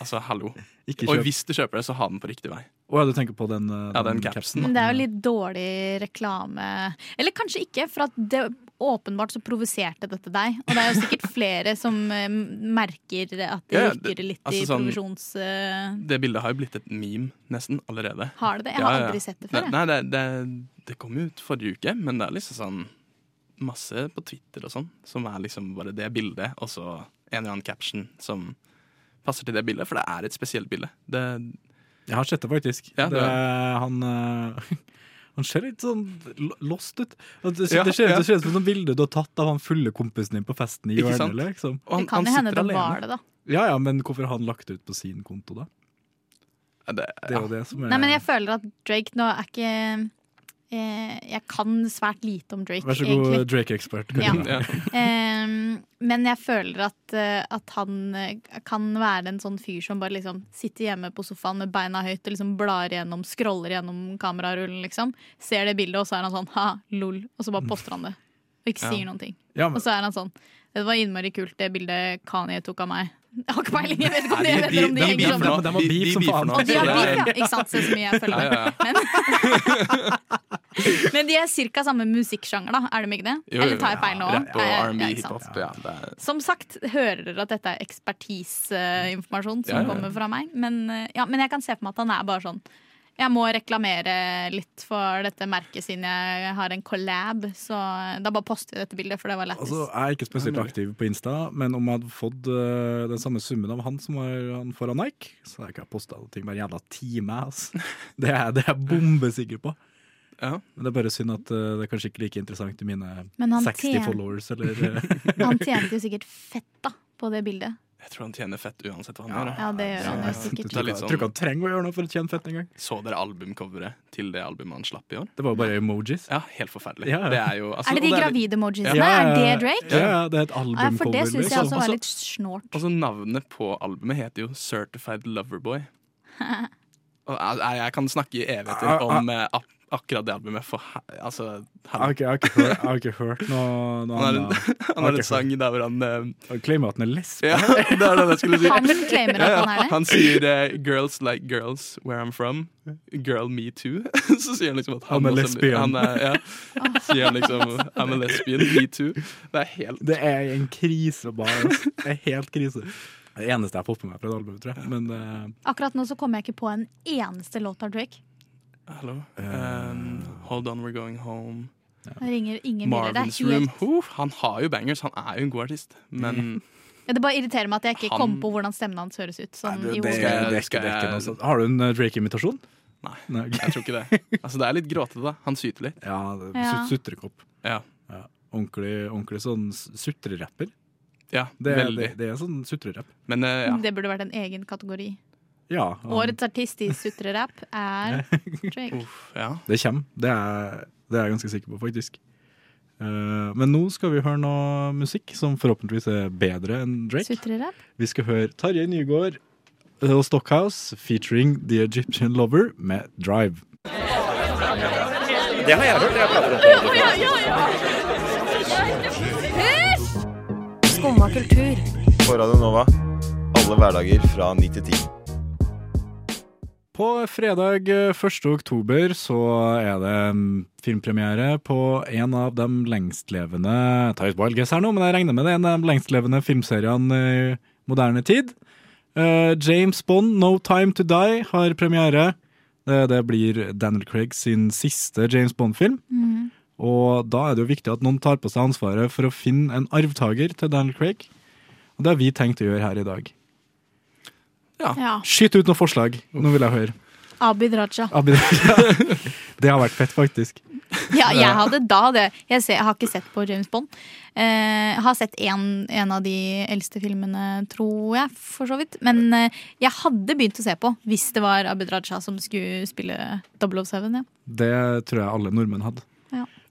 Speaker 6: altså, hallo.
Speaker 3: Ikke
Speaker 6: Og
Speaker 3: kjøp.
Speaker 6: hvis du kjøper det, så ha den på riktig vei.
Speaker 3: Å ja, du tenker på den, eh,
Speaker 6: Ja, den capsen,
Speaker 7: Men det er jo litt dårlig reklame. Eller kanskje ikke, for at det åpenbart så provoserte dette deg. Og det er jo sikkert flere som eh, merker at det
Speaker 6: Ja,
Speaker 7: rykker
Speaker 6: det-
Speaker 7: litt i
Speaker 6: altså sånn-
Speaker 7: provisjons... eh,
Speaker 6: Det bildet har jo blitt et meme nesten allerede.
Speaker 7: har det det? Jeg
Speaker 6: Ja,
Speaker 7: har
Speaker 6: ja, ja.
Speaker 7: aldri sett det før. jeg.
Speaker 6: Nei, nei, det, det, det kom jo ut forrige uke, men det er liksom sånn masse på Twitter og sånn, som er liksom bare det bildet, og så en eller annen caption som passer til det bildet, for det er et spesielt bilde. Det,
Speaker 3: Jeg har sett det faktisk.
Speaker 6: Ja,
Speaker 3: det
Speaker 6: det
Speaker 3: han, eh, han ser litt sånn lo- lost ut. At Det,
Speaker 6: Ja,
Speaker 3: det ser
Speaker 6: ja.
Speaker 3: det ser ut som et bilde du har tatt av han fulle kompisen din på festen i
Speaker 6: Ikke
Speaker 3: hjørnet.
Speaker 6: sant?
Speaker 3: Liksom.
Speaker 6: og
Speaker 7: Det kan jo hende det var det, da.
Speaker 3: Ja, ja, men hvorfor har han lagt det ut på sin konto, da?
Speaker 6: Ja, Det,
Speaker 3: Det er jo det som er
Speaker 7: Nei, men jeg føler at Drake nå er ikke eh, Jeg kan svært lite om Drake,
Speaker 3: Vær så god,
Speaker 7: egentlig.
Speaker 3: Drake-ekspert.
Speaker 7: Ja.
Speaker 3: Karina.
Speaker 6: ja.
Speaker 7: Em, men jeg føler at, eh, at han eh, kan være en sånn fyr som bare liksom sitter hjemme på sofaen med beina høyt og liksom blar gjennom, scroller gjennom kamerarullen, liksom. Ser det bildet, og så er han sånn ha, lol. Og så bare poster han det. Og ikke
Speaker 6: Ja.
Speaker 7: sier noen ting.
Speaker 3: Ja,
Speaker 7: Og
Speaker 3: men,
Speaker 7: så er han sånn Det var innmari kult, det bildet Kanye tok av meg. Jeg har ikke peiling, jeg vet ikke om det, jeg
Speaker 6: Nei,
Speaker 7: vet ikke om det
Speaker 3: de-
Speaker 7: henger
Speaker 3: de-
Speaker 7: sammen.
Speaker 3: men de har beef som faen.
Speaker 6: nå.
Speaker 7: Og de har
Speaker 6: Ja,
Speaker 7: beef,
Speaker 6: ja,
Speaker 7: ja. Ikke sant, se så mye jeg følger
Speaker 6: ja,
Speaker 7: med.
Speaker 6: ja, ja.
Speaker 7: Men, men de er ca. samme musikksjanger, da? Er de ikke det?
Speaker 6: Jo, jo,
Speaker 7: Eller tar jeg feil nå?
Speaker 6: Rapp og
Speaker 7: Ja, ja,
Speaker 6: R&B,
Speaker 7: ja, ikke sant.
Speaker 6: hiphop. Ja, det er-
Speaker 7: Som sagt hører dere at dette er ekspertiseinformasjon som
Speaker 6: Ja, ja, ja.
Speaker 7: kommer fra meg. Men, eh, ja, men jeg kan se for meg at han er bare sånn Jeg må reklamere litt for dette merket siden jeg har en collab. Så eh, da bare poster vi dette bildet, for det var lættis.
Speaker 3: altså, jeg er ikke spesielt aktiv på Insta, men om jeg hadde fått eh, den samme summen av han som var, han får av Nike, så hadde jeg ikke posta ting hver jævla time. ass. Det er det er jeg bombesikker på.
Speaker 6: Ja.
Speaker 3: Men det er bare synd at eh, det er kanskje ikke like interessant til mine
Speaker 7: Men han,
Speaker 3: 60
Speaker 7: tjen-
Speaker 3: followers, eller eh,
Speaker 7: han tjente jo sikkert fett da på det bildet.
Speaker 6: Jeg tror han tjener fett uansett hva han gjør. da.
Speaker 7: Ja, det gjør han jo
Speaker 3: Jeg
Speaker 7: sikkert.
Speaker 6: Det er
Speaker 3: tror
Speaker 6: litt
Speaker 3: ikke- jeg tror ikke han trenger å gjøre noe for å tjene fett engang.
Speaker 6: Så dere albumcoveret til det albumet han slapp i år?
Speaker 3: Det var jo bare emojis.
Speaker 6: Ja, helt forforferdelig.
Speaker 3: Ja.
Speaker 6: Det er jo altså,
Speaker 7: Er det de
Speaker 6: og
Speaker 7: gravide emojiene?
Speaker 3: Ja,
Speaker 7: Er det
Speaker 3: ja,
Speaker 7: Drake?
Speaker 3: Ja, ja, det er et
Speaker 7: Ja, for
Speaker 3: albumcover.
Speaker 7: det syns jeg
Speaker 3: liksom.
Speaker 7: også var
Speaker 6: Også-
Speaker 7: litt snålt.
Speaker 6: Altså, navnet på albumet heter jo Certified Loverboy. Og jeg, jeg kan snakke i
Speaker 3: Ah, ah.
Speaker 6: evigheter om eh, ak akkurat det albumet, for he- altså
Speaker 3: Jeg har
Speaker 6: Han,
Speaker 3: ikke- jeg har ikke hørt- jeg har ikke hørt noe, noe
Speaker 6: han,
Speaker 3: annet.
Speaker 6: har, han har
Speaker 3: ok.
Speaker 6: en sang der hvor han eh,
Speaker 3: Han claimer at han er lesbisk.
Speaker 6: Ja, det er det jeg skulle si.
Speaker 7: Han claimer at han er det.
Speaker 6: Han sier eh, 'girls like girls where I'm from'. Girl me too. Så sier han liksom at han,
Speaker 3: Han er
Speaker 6: også-
Speaker 3: lesbian.
Speaker 6: Han er, ja. Sier han liksom 'I'm a lesbian, me too'. Det er helt
Speaker 3: Det er en krise, bare. ass. Det er helt krise. Det er det eneste jeg har fått med meg fra det albumet, tror jeg. Men eh,
Speaker 7: Akkurat nå så kommer jeg ikke på en eneste låt av Drake.
Speaker 6: Hallo.
Speaker 3: Eh.
Speaker 6: Um, hold on, we're going home.
Speaker 7: Det ringer ingen biler. Det,
Speaker 6: Marvin's
Speaker 7: er
Speaker 6: Room.
Speaker 7: helt,
Speaker 6: Huh, han har jo bangers, han er jo en god artist. Men
Speaker 3: Mm.
Speaker 7: Ja, det bare irriterer meg at jeg ikke
Speaker 6: Han-
Speaker 7: kom på hvordan stemmen hans høres ut. Sånn,
Speaker 3: Nei, det,
Speaker 7: i hodet.
Speaker 6: Skal jeg-
Speaker 3: det, det, er ikke-
Speaker 6: skal
Speaker 3: det er ikke
Speaker 6: jeg-
Speaker 3: noe sånt. Har du en eh, Drake-imitasjon?
Speaker 6: Nei.
Speaker 3: Nei, ok.
Speaker 6: jeg tror ikke det. Altså, det er litt gråtete, da. Han syter litt.
Speaker 3: Ja, det-
Speaker 7: Ja.
Speaker 3: sut- sutrekopp.
Speaker 6: Ja.
Speaker 3: Ordentlig, ordentlig sånn s- sutrerapper.
Speaker 6: Ja,
Speaker 3: Det, er-
Speaker 6: veldig.
Speaker 3: det, det er sånn sutrerapp.
Speaker 6: Men eh, ja.
Speaker 7: det burde vært en egen kategori.
Speaker 3: Ja. han-
Speaker 7: Årets artist i sutrerapp er Drake.
Speaker 6: Uff, ja.
Speaker 3: Det kommer. Det er, det er jeg ganske sikker på, faktisk. Eh, men nå skal vi høre noe musikk som forhåpentligvis er bedre enn Drake.
Speaker 7: Sutrerapp?
Speaker 3: Vi skal høre Tarjei Nygaard og Stockhouse featuring The Egyptian Lover med Drive.
Speaker 4: Det har jeg hørt. Jeg prater om
Speaker 10: Skumma kultur.
Speaker 4: På Radio Nova. Alle hverdager fra 9 til 10.
Speaker 3: På fredag eh, 1. oktober så er det mm, filmpremiere på en av de lengstlevende jeg tar ut på Alges her nå, men jeg regner med det er en av de lengstlevende filmseriene i moderne tid. Eh, James Bond, No Time To Die, har premiere. Det, det blir Daniel Craig sin siste James Bond-film. Og da er det jo viktig at noen tar på seg ansvaret for å finne en arvtaker til Daniel Craig. Og det har vi tenkt å gjøre her i dag.
Speaker 7: Ja.
Speaker 3: Skyt ut noen forslag. Nå vil jeg høre.
Speaker 7: Abid Raja.
Speaker 3: Abid Raja. Det har vært fett, faktisk.
Speaker 7: Ja, jeg hadde da det. Jeg, ser, jeg har ikke sett på James Bond. Eh, jeg har sett en, en av de eldste filmene, tror jeg, for så vidt. Men eh, jeg hadde begynt å se på hvis det var Abid Raja som skulle spille 007. Ja.
Speaker 3: Det tror jeg alle nordmenn hadde.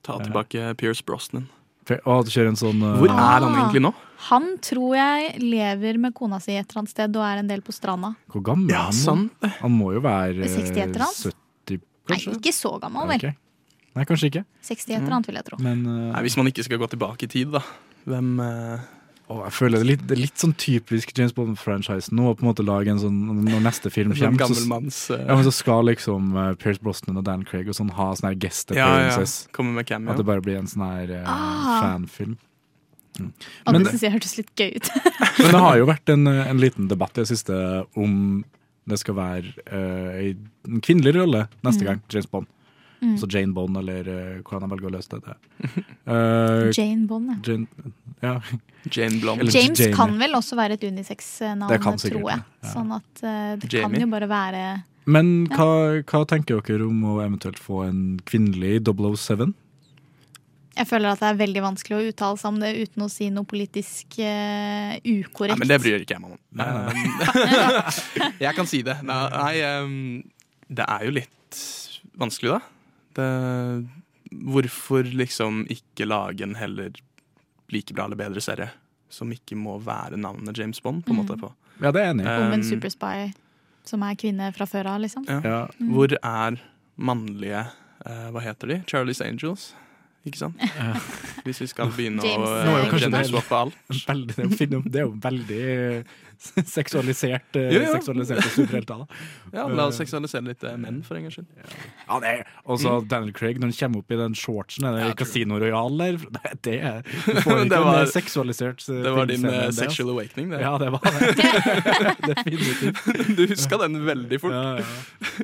Speaker 6: Ta tilbake eh, Pierce Brosnan.
Speaker 3: For- Å, du kjører en sånn eh,
Speaker 6: Hvor er
Speaker 7: Ah.
Speaker 6: han egentlig nå?
Speaker 7: Han tror jeg lever med kona si et eller annet sted og er en del på stranda.
Speaker 3: Hvor gammel er han? nå?
Speaker 6: sånn.
Speaker 3: Han må jo være eh,
Speaker 7: 60 etter han?
Speaker 3: 70,
Speaker 7: Nei,
Speaker 3: kanskje?
Speaker 7: ikke så gammel, vel.
Speaker 3: Ok. Nei, kanskje ikke.
Speaker 7: 60 etter annet, vil jeg tro.
Speaker 3: Men eh,
Speaker 6: Nei, hvis man ikke skal gå tilbake i tid, da. Hvem eh,
Speaker 3: å, jeg føler det er litt, det er litt sånn typisk James Bond-franchisen nå å på en måte lage en sånn Når neste film
Speaker 6: Hvem
Speaker 3: kommer,
Speaker 6: sånn gammel
Speaker 3: så,
Speaker 6: manns eh,
Speaker 3: ja, men så skal liksom eh, Pierce Brosnan og Dan Craig og sånn ha sånn her guest
Speaker 6: ja, ja,
Speaker 3: appearances.
Speaker 6: Kommer med
Speaker 3: At det
Speaker 6: cameo.
Speaker 3: bare blir en sånn her eh,
Speaker 7: Ah.
Speaker 3: fanfilm. Mm.
Speaker 7: Og
Speaker 3: Men-
Speaker 7: det syns jeg hørtes litt gøy ut.
Speaker 3: Men det har jo vært en, eh, en liten debatt i det siste om det skal være eh, en kvinnelig rolle neste gang. James Bond.
Speaker 7: Mm.
Speaker 3: Så Jane Bond, eller eh, hvordan jeg velger å løse dette. Eh,
Speaker 7: Jane Bond, ja.
Speaker 3: Jane, ja.
Speaker 6: Jane Blond.
Speaker 3: Eller-
Speaker 7: James
Speaker 3: Jamie.
Speaker 7: kan vel også være et unisex-navn,
Speaker 3: Det kan
Speaker 7: tror
Speaker 3: sikkert
Speaker 7: jeg.
Speaker 3: det, ja.
Speaker 7: Sånn at eh, det
Speaker 6: Jamie.
Speaker 7: kan jo bare være
Speaker 3: Men hva, hva tenker dere om å eventuelt få en kvinnelig 007?
Speaker 7: Jeg føler at det er veldig vanskelig å uttale seg om det uten å si noe politisk eh, ukorrekt.
Speaker 6: Nei, men det bryr ikke jeg meg om. jeg kan si det. Nei, nei ehm, det er jo litt vanskelig, da. Det, hvorfor liksom ikke lage en heller like bra eller bedre serie som ikke må være navnet James Bond, på en måte? på?
Speaker 3: Ja, det er jeg enig i.
Speaker 7: Mm. Om en
Speaker 6: Ehm,
Speaker 7: superspy som er kvinne fra før av, liksom.
Speaker 6: ja.
Speaker 3: Ja.
Speaker 6: Hvor er mannlige eh, Hva heter de? Charlies Angels? Ikke sant? Hvis vi skal begynne å
Speaker 7: James,
Speaker 6: eh,
Speaker 7: Nå er jo
Speaker 3: kanskje det-
Speaker 6: gender-swappe alt.
Speaker 3: Veldig, det er jo fin- det er jo veldig eh, seksualisert, eh,
Speaker 6: Jo, jo.
Speaker 3: seksualiserte superhelter. da.
Speaker 6: Ja, la oss seksualisere litt eh, menn, for en gangs skyld.
Speaker 3: Ja, det er Og så Daniel Craig, når han kommer opp i den shortsen Er det
Speaker 6: Mm. Ja, true.
Speaker 3: Casino Royale der? Det, det er Du får
Speaker 6: Det
Speaker 3: ikke
Speaker 6: var-
Speaker 3: en seksualisert eh,
Speaker 6: Det var
Speaker 3: film
Speaker 6: din
Speaker 3: senere
Speaker 6: eh,
Speaker 3: enn det,
Speaker 6: sexual awakening,
Speaker 3: altså.
Speaker 6: det.
Speaker 3: Ja, det var det. Definitivt.
Speaker 6: Du huska den veldig fort.
Speaker 3: Ja,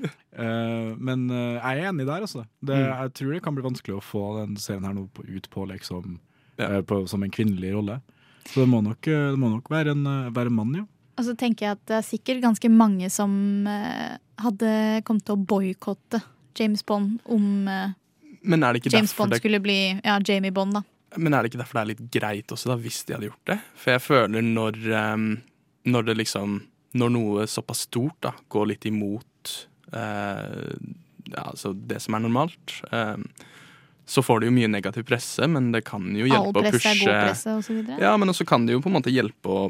Speaker 3: ja. Eh, men eh, jeg er enig der, altså. Det,
Speaker 6: Mm.
Speaker 3: Jeg tror det kan bli vanskelig å få den serien her nå på, ut på liksom
Speaker 6: Ja.
Speaker 3: eh, på, som en kvinnelig rolle. Så det må nok, eh, det må nok være, en, eh, være en mann, ja.
Speaker 7: Og så tenker jeg at det er sikkert ganske mange som eh, hadde kommet til å boikotte James Bond om eh,
Speaker 6: Men er det ikke
Speaker 7: James
Speaker 6: derfor
Speaker 7: Bond
Speaker 6: det
Speaker 7: skulle bli ja, Jamie Bond, da.
Speaker 6: Men er det ikke derfor det er litt greit også, da, hvis de hadde gjort det? For jeg føler når, ehm, når det liksom Når noe såpass stort da, går litt imot eh, ja, altså det som er normalt, ehm, så får det jo mye negativ presse, men det kan jo
Speaker 7: All
Speaker 6: hjelpe å
Speaker 7: presse er god
Speaker 6: pushe
Speaker 7: presse, osv.
Speaker 6: ja, men også kan det jo på en måte hjelpe å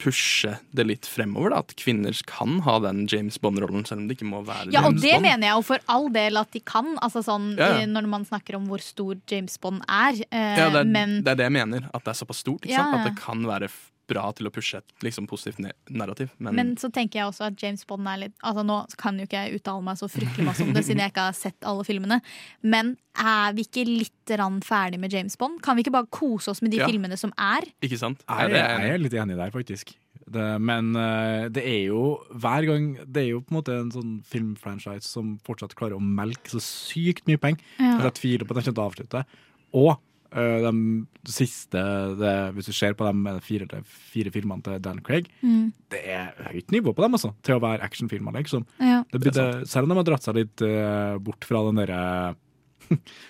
Speaker 6: pushe det litt fremover, da. At kvinner kan ha den James Bond-rollen, selv om det ikke må være
Speaker 7: Ja, og
Speaker 6: James
Speaker 7: det
Speaker 6: Bond.
Speaker 7: mener jeg jo for all del at de kan. Altså sånn,
Speaker 6: Ja, ja.
Speaker 7: eh, Når man snakker om hvor stor James Bond er. eh,
Speaker 6: Ja, det er,
Speaker 7: men
Speaker 6: det er det jeg mener. At det er såpass stort. Ikke
Speaker 7: Ja.
Speaker 6: sant? At det kan være f- bra til å pushe et liksom, positivt ne- narrativ. Men,
Speaker 7: Men så tenker jeg også at James Bond er litt Altså Nå kan jo ikke jeg uttale meg så fryktelig masse om det, siden jeg ikke har sett alle filmene. Men er vi ikke litt rann ferdig med James Bond? Kan vi ikke bare kose oss med de
Speaker 6: Ja.
Speaker 7: filmene som er?
Speaker 6: ikke sant?
Speaker 3: Jeg,
Speaker 6: Er det,
Speaker 3: jeg er litt enig der, faktisk. Det, men eh, det er jo hver gang Det er jo på en måte en sånn filmfranchise som fortsatt klarer å melke så sykt mye penger. at Jeg tviler på at de kommer til å avslutte. Og eh, de siste det, Hvis du ser på de fire, fire filmene til Dan Craig,
Speaker 7: Mm,
Speaker 3: det er høyt nivå på dem, altså. Til å være actionfilmer, liksom.
Speaker 7: ja.
Speaker 3: Det burde, selv om de har dratt seg litt eh, bort fra den derre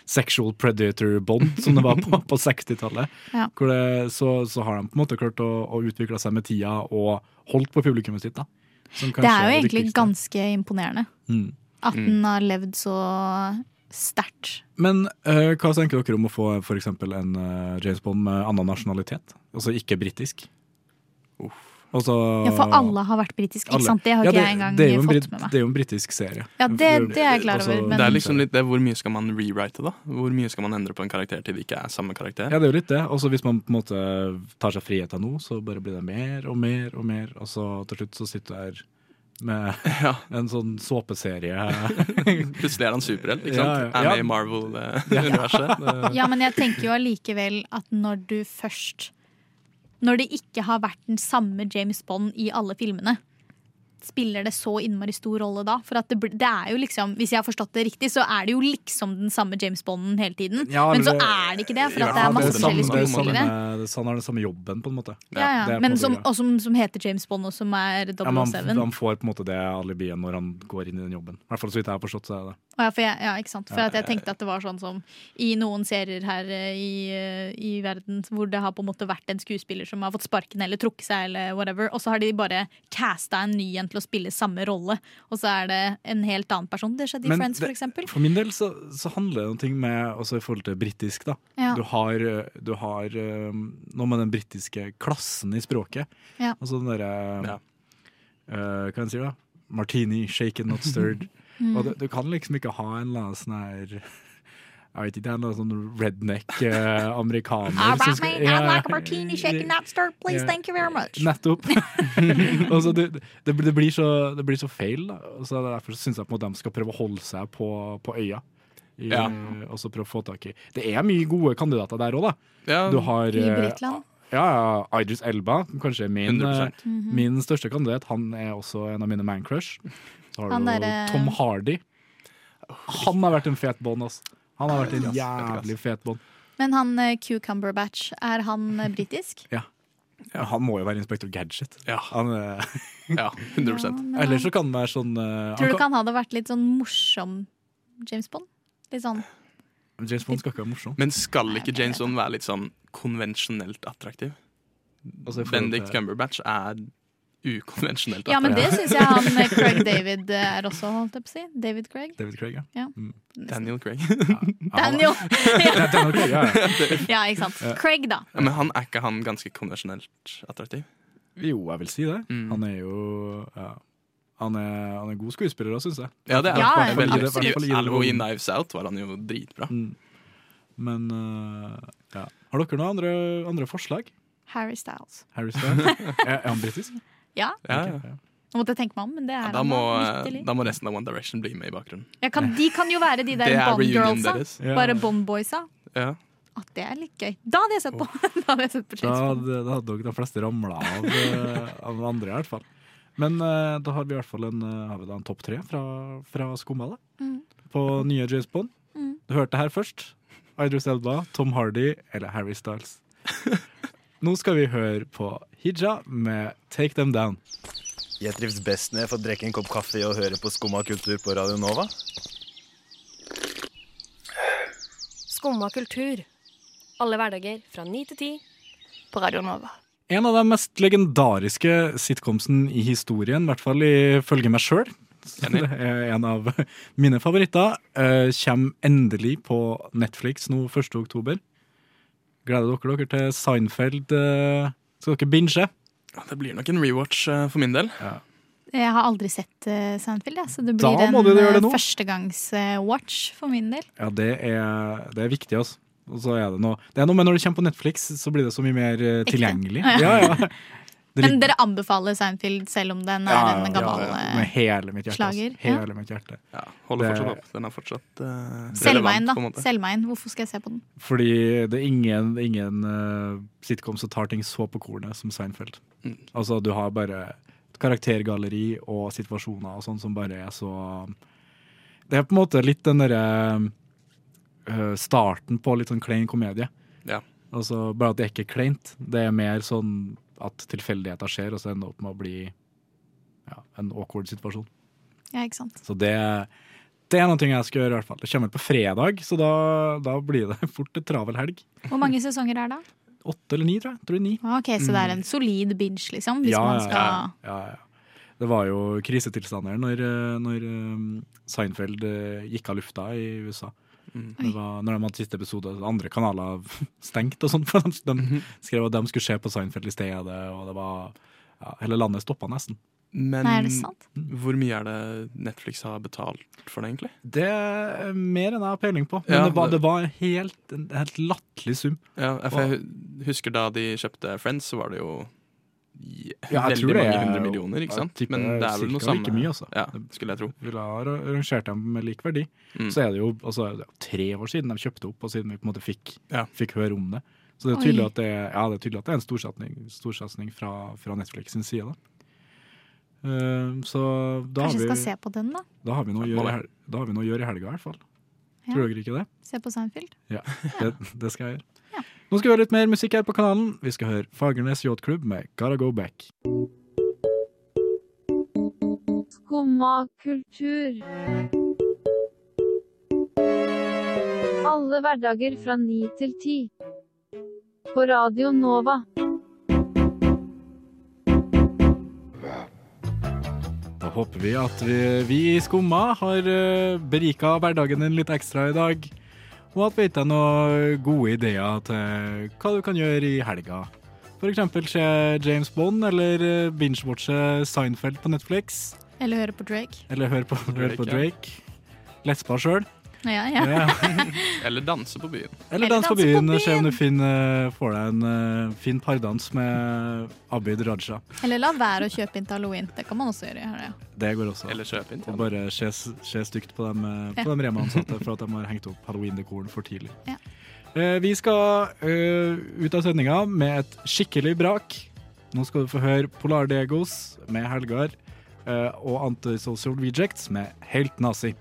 Speaker 3: sexual predator-bånd som det var på, på 60-tallet,
Speaker 7: Ja.
Speaker 3: Hvor det- så, så har de på en måte klart å, å utvikle seg med tida og holdt på publikummet sitt. da. Som
Speaker 7: Det
Speaker 3: kanskje
Speaker 7: er jo egentlig
Speaker 3: viktigste.
Speaker 7: ganske imponerende
Speaker 3: Mm.
Speaker 7: at den har levd så sterkt.
Speaker 3: Men eh, hva tenker dere om å få f.eks. en eh, James Bond med annen nasjonalitet? Altså ikke britisk? Altså,
Speaker 7: Ja, for alle har vært britiske, ikke
Speaker 3: alle.
Speaker 7: sant? Det har
Speaker 3: Ja,
Speaker 7: ikke jeg engang
Speaker 3: det er jo en
Speaker 7: fått
Speaker 3: brit-
Speaker 7: med meg.
Speaker 3: Det er jo en britisk serie.
Speaker 7: Ja, det, det er jeg klar
Speaker 3: Altså,
Speaker 7: over,
Speaker 6: det er
Speaker 7: men
Speaker 6: liksom litt det hvor mye skal man rewrite, da? Hvor mye skal man endre på en karakter til det ikke er samme karakter?
Speaker 3: Ja, det er jo litt det. Og så hvis man på en måte tar seg friheter nå, så bare blir det mer og mer og mer. Og så til slutt så sitter du her med
Speaker 6: Ja.
Speaker 3: en sånn såpeserie.
Speaker 6: Plutselig er han superhelt, ikke
Speaker 3: Ja,
Speaker 6: sant?
Speaker 3: ja.
Speaker 6: Er med
Speaker 3: Ja.
Speaker 6: i Marvel-universet.
Speaker 7: Ja, men jeg tenker jo allikevel at når du først Når det ikke har vært den samme James Bond i alle filmene, spiller det så innmari stor rolle da? For at det, bl- det er jo liksom, hvis jeg har forstått det riktig, så er det jo liksom den samme James Bonden hele tiden.
Speaker 3: Ja,
Speaker 7: men så
Speaker 3: det-
Speaker 7: er det ikke det, for
Speaker 6: Ja,
Speaker 7: at det er masse
Speaker 6: det er
Speaker 7: forskjellige
Speaker 6: samme- det er samme-
Speaker 7: skuespillere.
Speaker 3: det er- han har den samme jobben, på en måte.
Speaker 7: Ja,
Speaker 3: det
Speaker 7: ja.
Speaker 3: er på en
Speaker 7: Men
Speaker 3: måte
Speaker 7: som,
Speaker 3: greia.
Speaker 7: og som, som heter James Bond, og som er
Speaker 3: Ja, men
Speaker 7: 007.
Speaker 3: han, han får på en måte det alibiet når han går inn i den jobben. I hvert fall så vidt jeg har forstått, så er det det.
Speaker 7: Å ja, for jeg, ja, ikke sant? For at jeg tenkte at det var sånn som i noen serier her eh, i, eh, i verden, hvor det har på en måte vært en skuespiller som har fått sparken eller trukket seg, eller whatever, og så har de bare casta en ny en til å spille samme rolle, og så er det en helt annen person. Det skjedde i
Speaker 3: Men
Speaker 7: Friends,
Speaker 3: det-
Speaker 7: for eksempel.
Speaker 3: For min del så, så handler det om ting med, også i forhold til britisk, da.
Speaker 7: Ja.
Speaker 3: Du har, eh, du har eh, noe med den britiske klassen i språket.
Speaker 7: Ja.
Speaker 3: Altså den derre
Speaker 6: Ja.
Speaker 3: eh, Hva kan jeg si, da? Martini, shaken, not stirred.
Speaker 7: Mm.
Speaker 3: Og du, du kan liksom ikke ha en eller annen sånn her jeg vet ikke, det er noe sånn redneck eh,
Speaker 7: Ah,
Speaker 3: amerikaner som skal- liksom Ja. please, thank Nettopp. Og så det, det, blir- det, blir så, det blir så feil, da. Og så er det derfor syns jeg på en måte de skal prøve å holde seg på, på øya. I, eh,
Speaker 6: Ja.
Speaker 3: Og så prøve å få tak i Det er mye gode kandidater der òg, da.
Speaker 6: Ja,
Speaker 3: Du har
Speaker 7: Um, I
Speaker 3: eh,
Speaker 7: Britland.
Speaker 3: ja, ja, Idris Elba, kanskje min,
Speaker 6: 100%.
Speaker 3: eh,
Speaker 7: Mhm.
Speaker 3: min største kandidat. Han er også en av mine man-crush. Så har
Speaker 7: Han eh,
Speaker 3: du jo
Speaker 7: derre-
Speaker 3: Tom Hardy. Han har vært en fet bånd, ass. Han har vært en
Speaker 6: Vet ikke, ass.
Speaker 3: jævlig fet bånd.
Speaker 7: Men han eh, Cucumber Batch, er han eh, britisk?
Speaker 3: Ja, han må jo være Inspektor Gadget.
Speaker 6: Ja,
Speaker 3: Han, eh,
Speaker 6: ja, 100
Speaker 7: men han-
Speaker 3: ellers så kan han være sånn eh,
Speaker 7: Tror du
Speaker 3: han
Speaker 7: ikke han hadde vært litt sånn morsom James Bond? Litt sånn
Speaker 3: kan, James Bond skal ikke være morsom.
Speaker 6: Men skal ikke James Bond være litt sånn konvensjonelt attraktiv?
Speaker 3: Altså, i forhold til-
Speaker 6: Benedict Cumberbatch er ukonvensjonelt attraktiv.
Speaker 7: Ja, men det syns jeg han eh, Craig David eh, er også, holdt jeg på å si. David Craig.
Speaker 3: David Craig, ja.
Speaker 6: Daniel Craig.
Speaker 7: Daniel!
Speaker 3: Ja, Daniel Craig, ja, ja.
Speaker 7: ja, ikke sant. Craig, da.
Speaker 6: Ja, men han er ikke han ganske konvensjonelt attraktiv?
Speaker 3: Jo, jeg vil si det.
Speaker 6: Mm.
Speaker 3: Han er jo ja. han, er, han er god skuespiller òg, syns jeg.
Speaker 6: Ja, det er
Speaker 7: Ja,
Speaker 6: han.
Speaker 7: ja,
Speaker 6: Veldig-
Speaker 3: absolutt.
Speaker 6: I Alvo i Knives Out var han jo dritbra.
Speaker 3: Mm. Men eh, ja. Har dere noen andre, andre forslag?
Speaker 7: Harry Styles.
Speaker 3: Harry Styles? er, er han britisk?
Speaker 7: Ja,
Speaker 6: Ja,
Speaker 3: Ok,
Speaker 6: ja.
Speaker 3: ja.
Speaker 7: nå måtte jeg tenke meg om, men det er
Speaker 6: Ja,
Speaker 7: han
Speaker 6: da, må,
Speaker 7: vitterlig.
Speaker 6: da må resten av One Direction bli med i bakgrunnen.
Speaker 7: Ja, kan, de kan jo være de der
Speaker 6: Det er reunionen
Speaker 7: Bond-girlsa.
Speaker 6: deres.
Speaker 3: Ja.
Speaker 7: Bare Bond-boysa.
Speaker 6: Ja.
Speaker 7: At det er litt gøy. Da hadde jeg sett på! Da hadde jeg sett på
Speaker 3: Da,
Speaker 7: James Bond.
Speaker 3: hadde- da hadde dere de fleste ramla av, eh, av de andre, i hvert fall. Men eh, da har vi i hvert fall en, eh, har vi da en topp tre fra, fra Skumma, da.
Speaker 7: Mm.
Speaker 3: På nye James Bond. Du hørte her først. Idris Elba, Tom Hardy eller Harry Styles. Nå skal vi høre på Hija med Take Them Down.
Speaker 4: Jeg trives best når jeg får drikke en kopp kaffe og høre på Skumma kultur på Radio Nova.
Speaker 10: Skumma kultur. Alle hverdager fra ni til ti. På Radio Nova.
Speaker 3: En av de mest legendariske sitcomsen i historien, i hvert fall ifølge meg sjøl. Det er en av mine favoritter. Eh, Kjem endelig på Netflix nå 1. oktober. Gleder dere dere til Seinfeld? eh, Skal dere binge?
Speaker 6: Det blir nok en rewatch eh, for min del.
Speaker 7: Jeg har aldri sett eh, Seinfeld, jeg, så det
Speaker 3: Da
Speaker 7: blir en eh,
Speaker 3: må du gjøre det nå.
Speaker 7: førstegangs-watch for min del.
Speaker 3: Ja, det er, det er viktig, altså. Og så er det noe Det er noe med når det kommer på Netflix, så blir det så mye mer eh, tilgjengelig.
Speaker 7: Ja,
Speaker 3: Ja,
Speaker 7: ja.
Speaker 3: ja. Det
Speaker 7: Men
Speaker 3: ligger-
Speaker 7: dere anbefaler Seinfeld selv om den er
Speaker 3: Ja, ja,
Speaker 7: en
Speaker 3: ja,
Speaker 7: gammel
Speaker 3: ja.
Speaker 7: eh,
Speaker 3: Med hele mitt hjerte. Slager,
Speaker 7: slager, ja.
Speaker 3: hele mitt hjerte.
Speaker 6: Holder
Speaker 3: Det-
Speaker 6: fortsatt opp. Den er fortsatt eh,
Speaker 7: Selg meg
Speaker 6: relevant,
Speaker 7: inn,
Speaker 6: på en
Speaker 7: da.
Speaker 6: måte.
Speaker 7: Selg meg inn. Hvorfor skal jeg se på den?
Speaker 3: Fordi det er ingen, ingen eh, sitcom som tar ting så på kornet som Seinfeld.
Speaker 6: Mm.
Speaker 3: Altså, du har bare et karaktergalleri og situasjoner og sånn som bare er så Det er på en måte litt den derre eh, starten på litt sånn klein komedie.
Speaker 6: Ja.
Speaker 3: Altså, bare at det er ikke kleint. Det er mer sånn at tilfeldigheter skjer, og så ender det opp med å bli ja, en awkward situasjon.
Speaker 7: Ja, ikke sant?
Speaker 3: Så det, det er noe jeg skal gjøre, i hvert fall. Det kommer på fredag, så da, da blir det fort en travel helg.
Speaker 7: Hvor mange sesonger er det? da?
Speaker 3: Åtte eller ni, tror jeg. Tror det er ni.
Speaker 7: Ah, Ok, Så det er en solid binge, liksom? Hvis man skal
Speaker 3: Mm. ja, ja, ja. Det var jo krisetilstander når, eh, når eh, Seinfeld eh, gikk av lufta i USA. Mm, Det var, når de hadde siste episode, andre kanaler stengt og sånn. For de, de skrev at de skulle se på Seinfeld i stedet, og det var ja, Hele landet stoppa nesten.
Speaker 6: Men
Speaker 7: Nei, er det sant?
Speaker 6: hvor mye er det Netflix har betalt for det, egentlig?
Speaker 3: Det er mer enn jeg har peiling på, men
Speaker 6: Ja,
Speaker 3: det var,
Speaker 6: det-
Speaker 3: det var helt, en helt latterlig sum.
Speaker 6: Ja, for jeg hu- husker da de kjøpte Friends, så var det jo i-
Speaker 3: Ja, jeg tror
Speaker 6: veldig
Speaker 3: det
Speaker 6: mange
Speaker 3: er-
Speaker 6: hundre millioner, ikke
Speaker 3: jeg
Speaker 6: sant?
Speaker 3: tipper
Speaker 6: Men det er vel noe
Speaker 3: cirka
Speaker 6: samme.
Speaker 3: like mye, altså.
Speaker 6: Ja, skulle jeg tro.
Speaker 3: ville ha ra- rangert dem med lik verdi.
Speaker 6: Mm.
Speaker 3: Så er det jo altså, det er jo tre år siden de kjøpte opp, og siden vi på en måte fikk,
Speaker 6: Ja.
Speaker 3: fikk høre om det. Så det er
Speaker 7: Oi.
Speaker 3: tydelig, at det, er- ja, det er, tydelig at det er en storsatsing, storsatsing fra, fra Netflix sin side. Da. Ehm, så da har,
Speaker 7: Kanskje jeg skal
Speaker 3: vi,
Speaker 7: se på den, da?
Speaker 3: da, har vi noe å gjøre, i hel- da har vi noe å gjøre i helga, i hvert fall.
Speaker 7: Ja.
Speaker 3: Tror dere ikke det?
Speaker 7: Se på Seinfeld?
Speaker 3: Ja, det, det skal jeg gjøre. Nå skal vi høre litt mer musikk her på kanalen. Vi skal høre Fagernes Yachtklubb med Gotta Go Back.
Speaker 11: Skumma kultur. Alle hverdager fra ni til ti. På Radio Nova.
Speaker 3: Da håper vi at vi, vi i Skumma har berika hverdagen din litt ekstra i dag. Og at vi har gitt deg noen gode ideer til hva du kan gjøre i helga. F.eks. se James Bond, eller eh, binge-watche Seinfeld på Netflix.
Speaker 7: Eller høre på Drake?
Speaker 3: Eller høre på, høre på
Speaker 6: Drake, ja.
Speaker 3: Drake. Lespa sjøl.
Speaker 7: Ja, ja.
Speaker 6: Eller danse på byen.
Speaker 3: Eller dans på byen. Se om du finner, eh, får deg en eh, fin pardans med Abid Raja.
Speaker 7: Eller la være å kjøpe inn til halloween. Det kan man også gjøre. Her, ja.
Speaker 3: Det går også.
Speaker 6: Eller kjøpe inn.
Speaker 3: Og
Speaker 6: til den.
Speaker 3: bare se, se stygt på dem, eh, på dem Rema-ansatte for at de har hengt opp halloween-dekoren for tidlig.
Speaker 7: Ja.
Speaker 3: Eh, Vi skal eh, ut av sendinga med et skikkelig brak. Nå skal du få høre Polar Degos med Helgar eh, og Antisocial Rejects med Helt Nazi.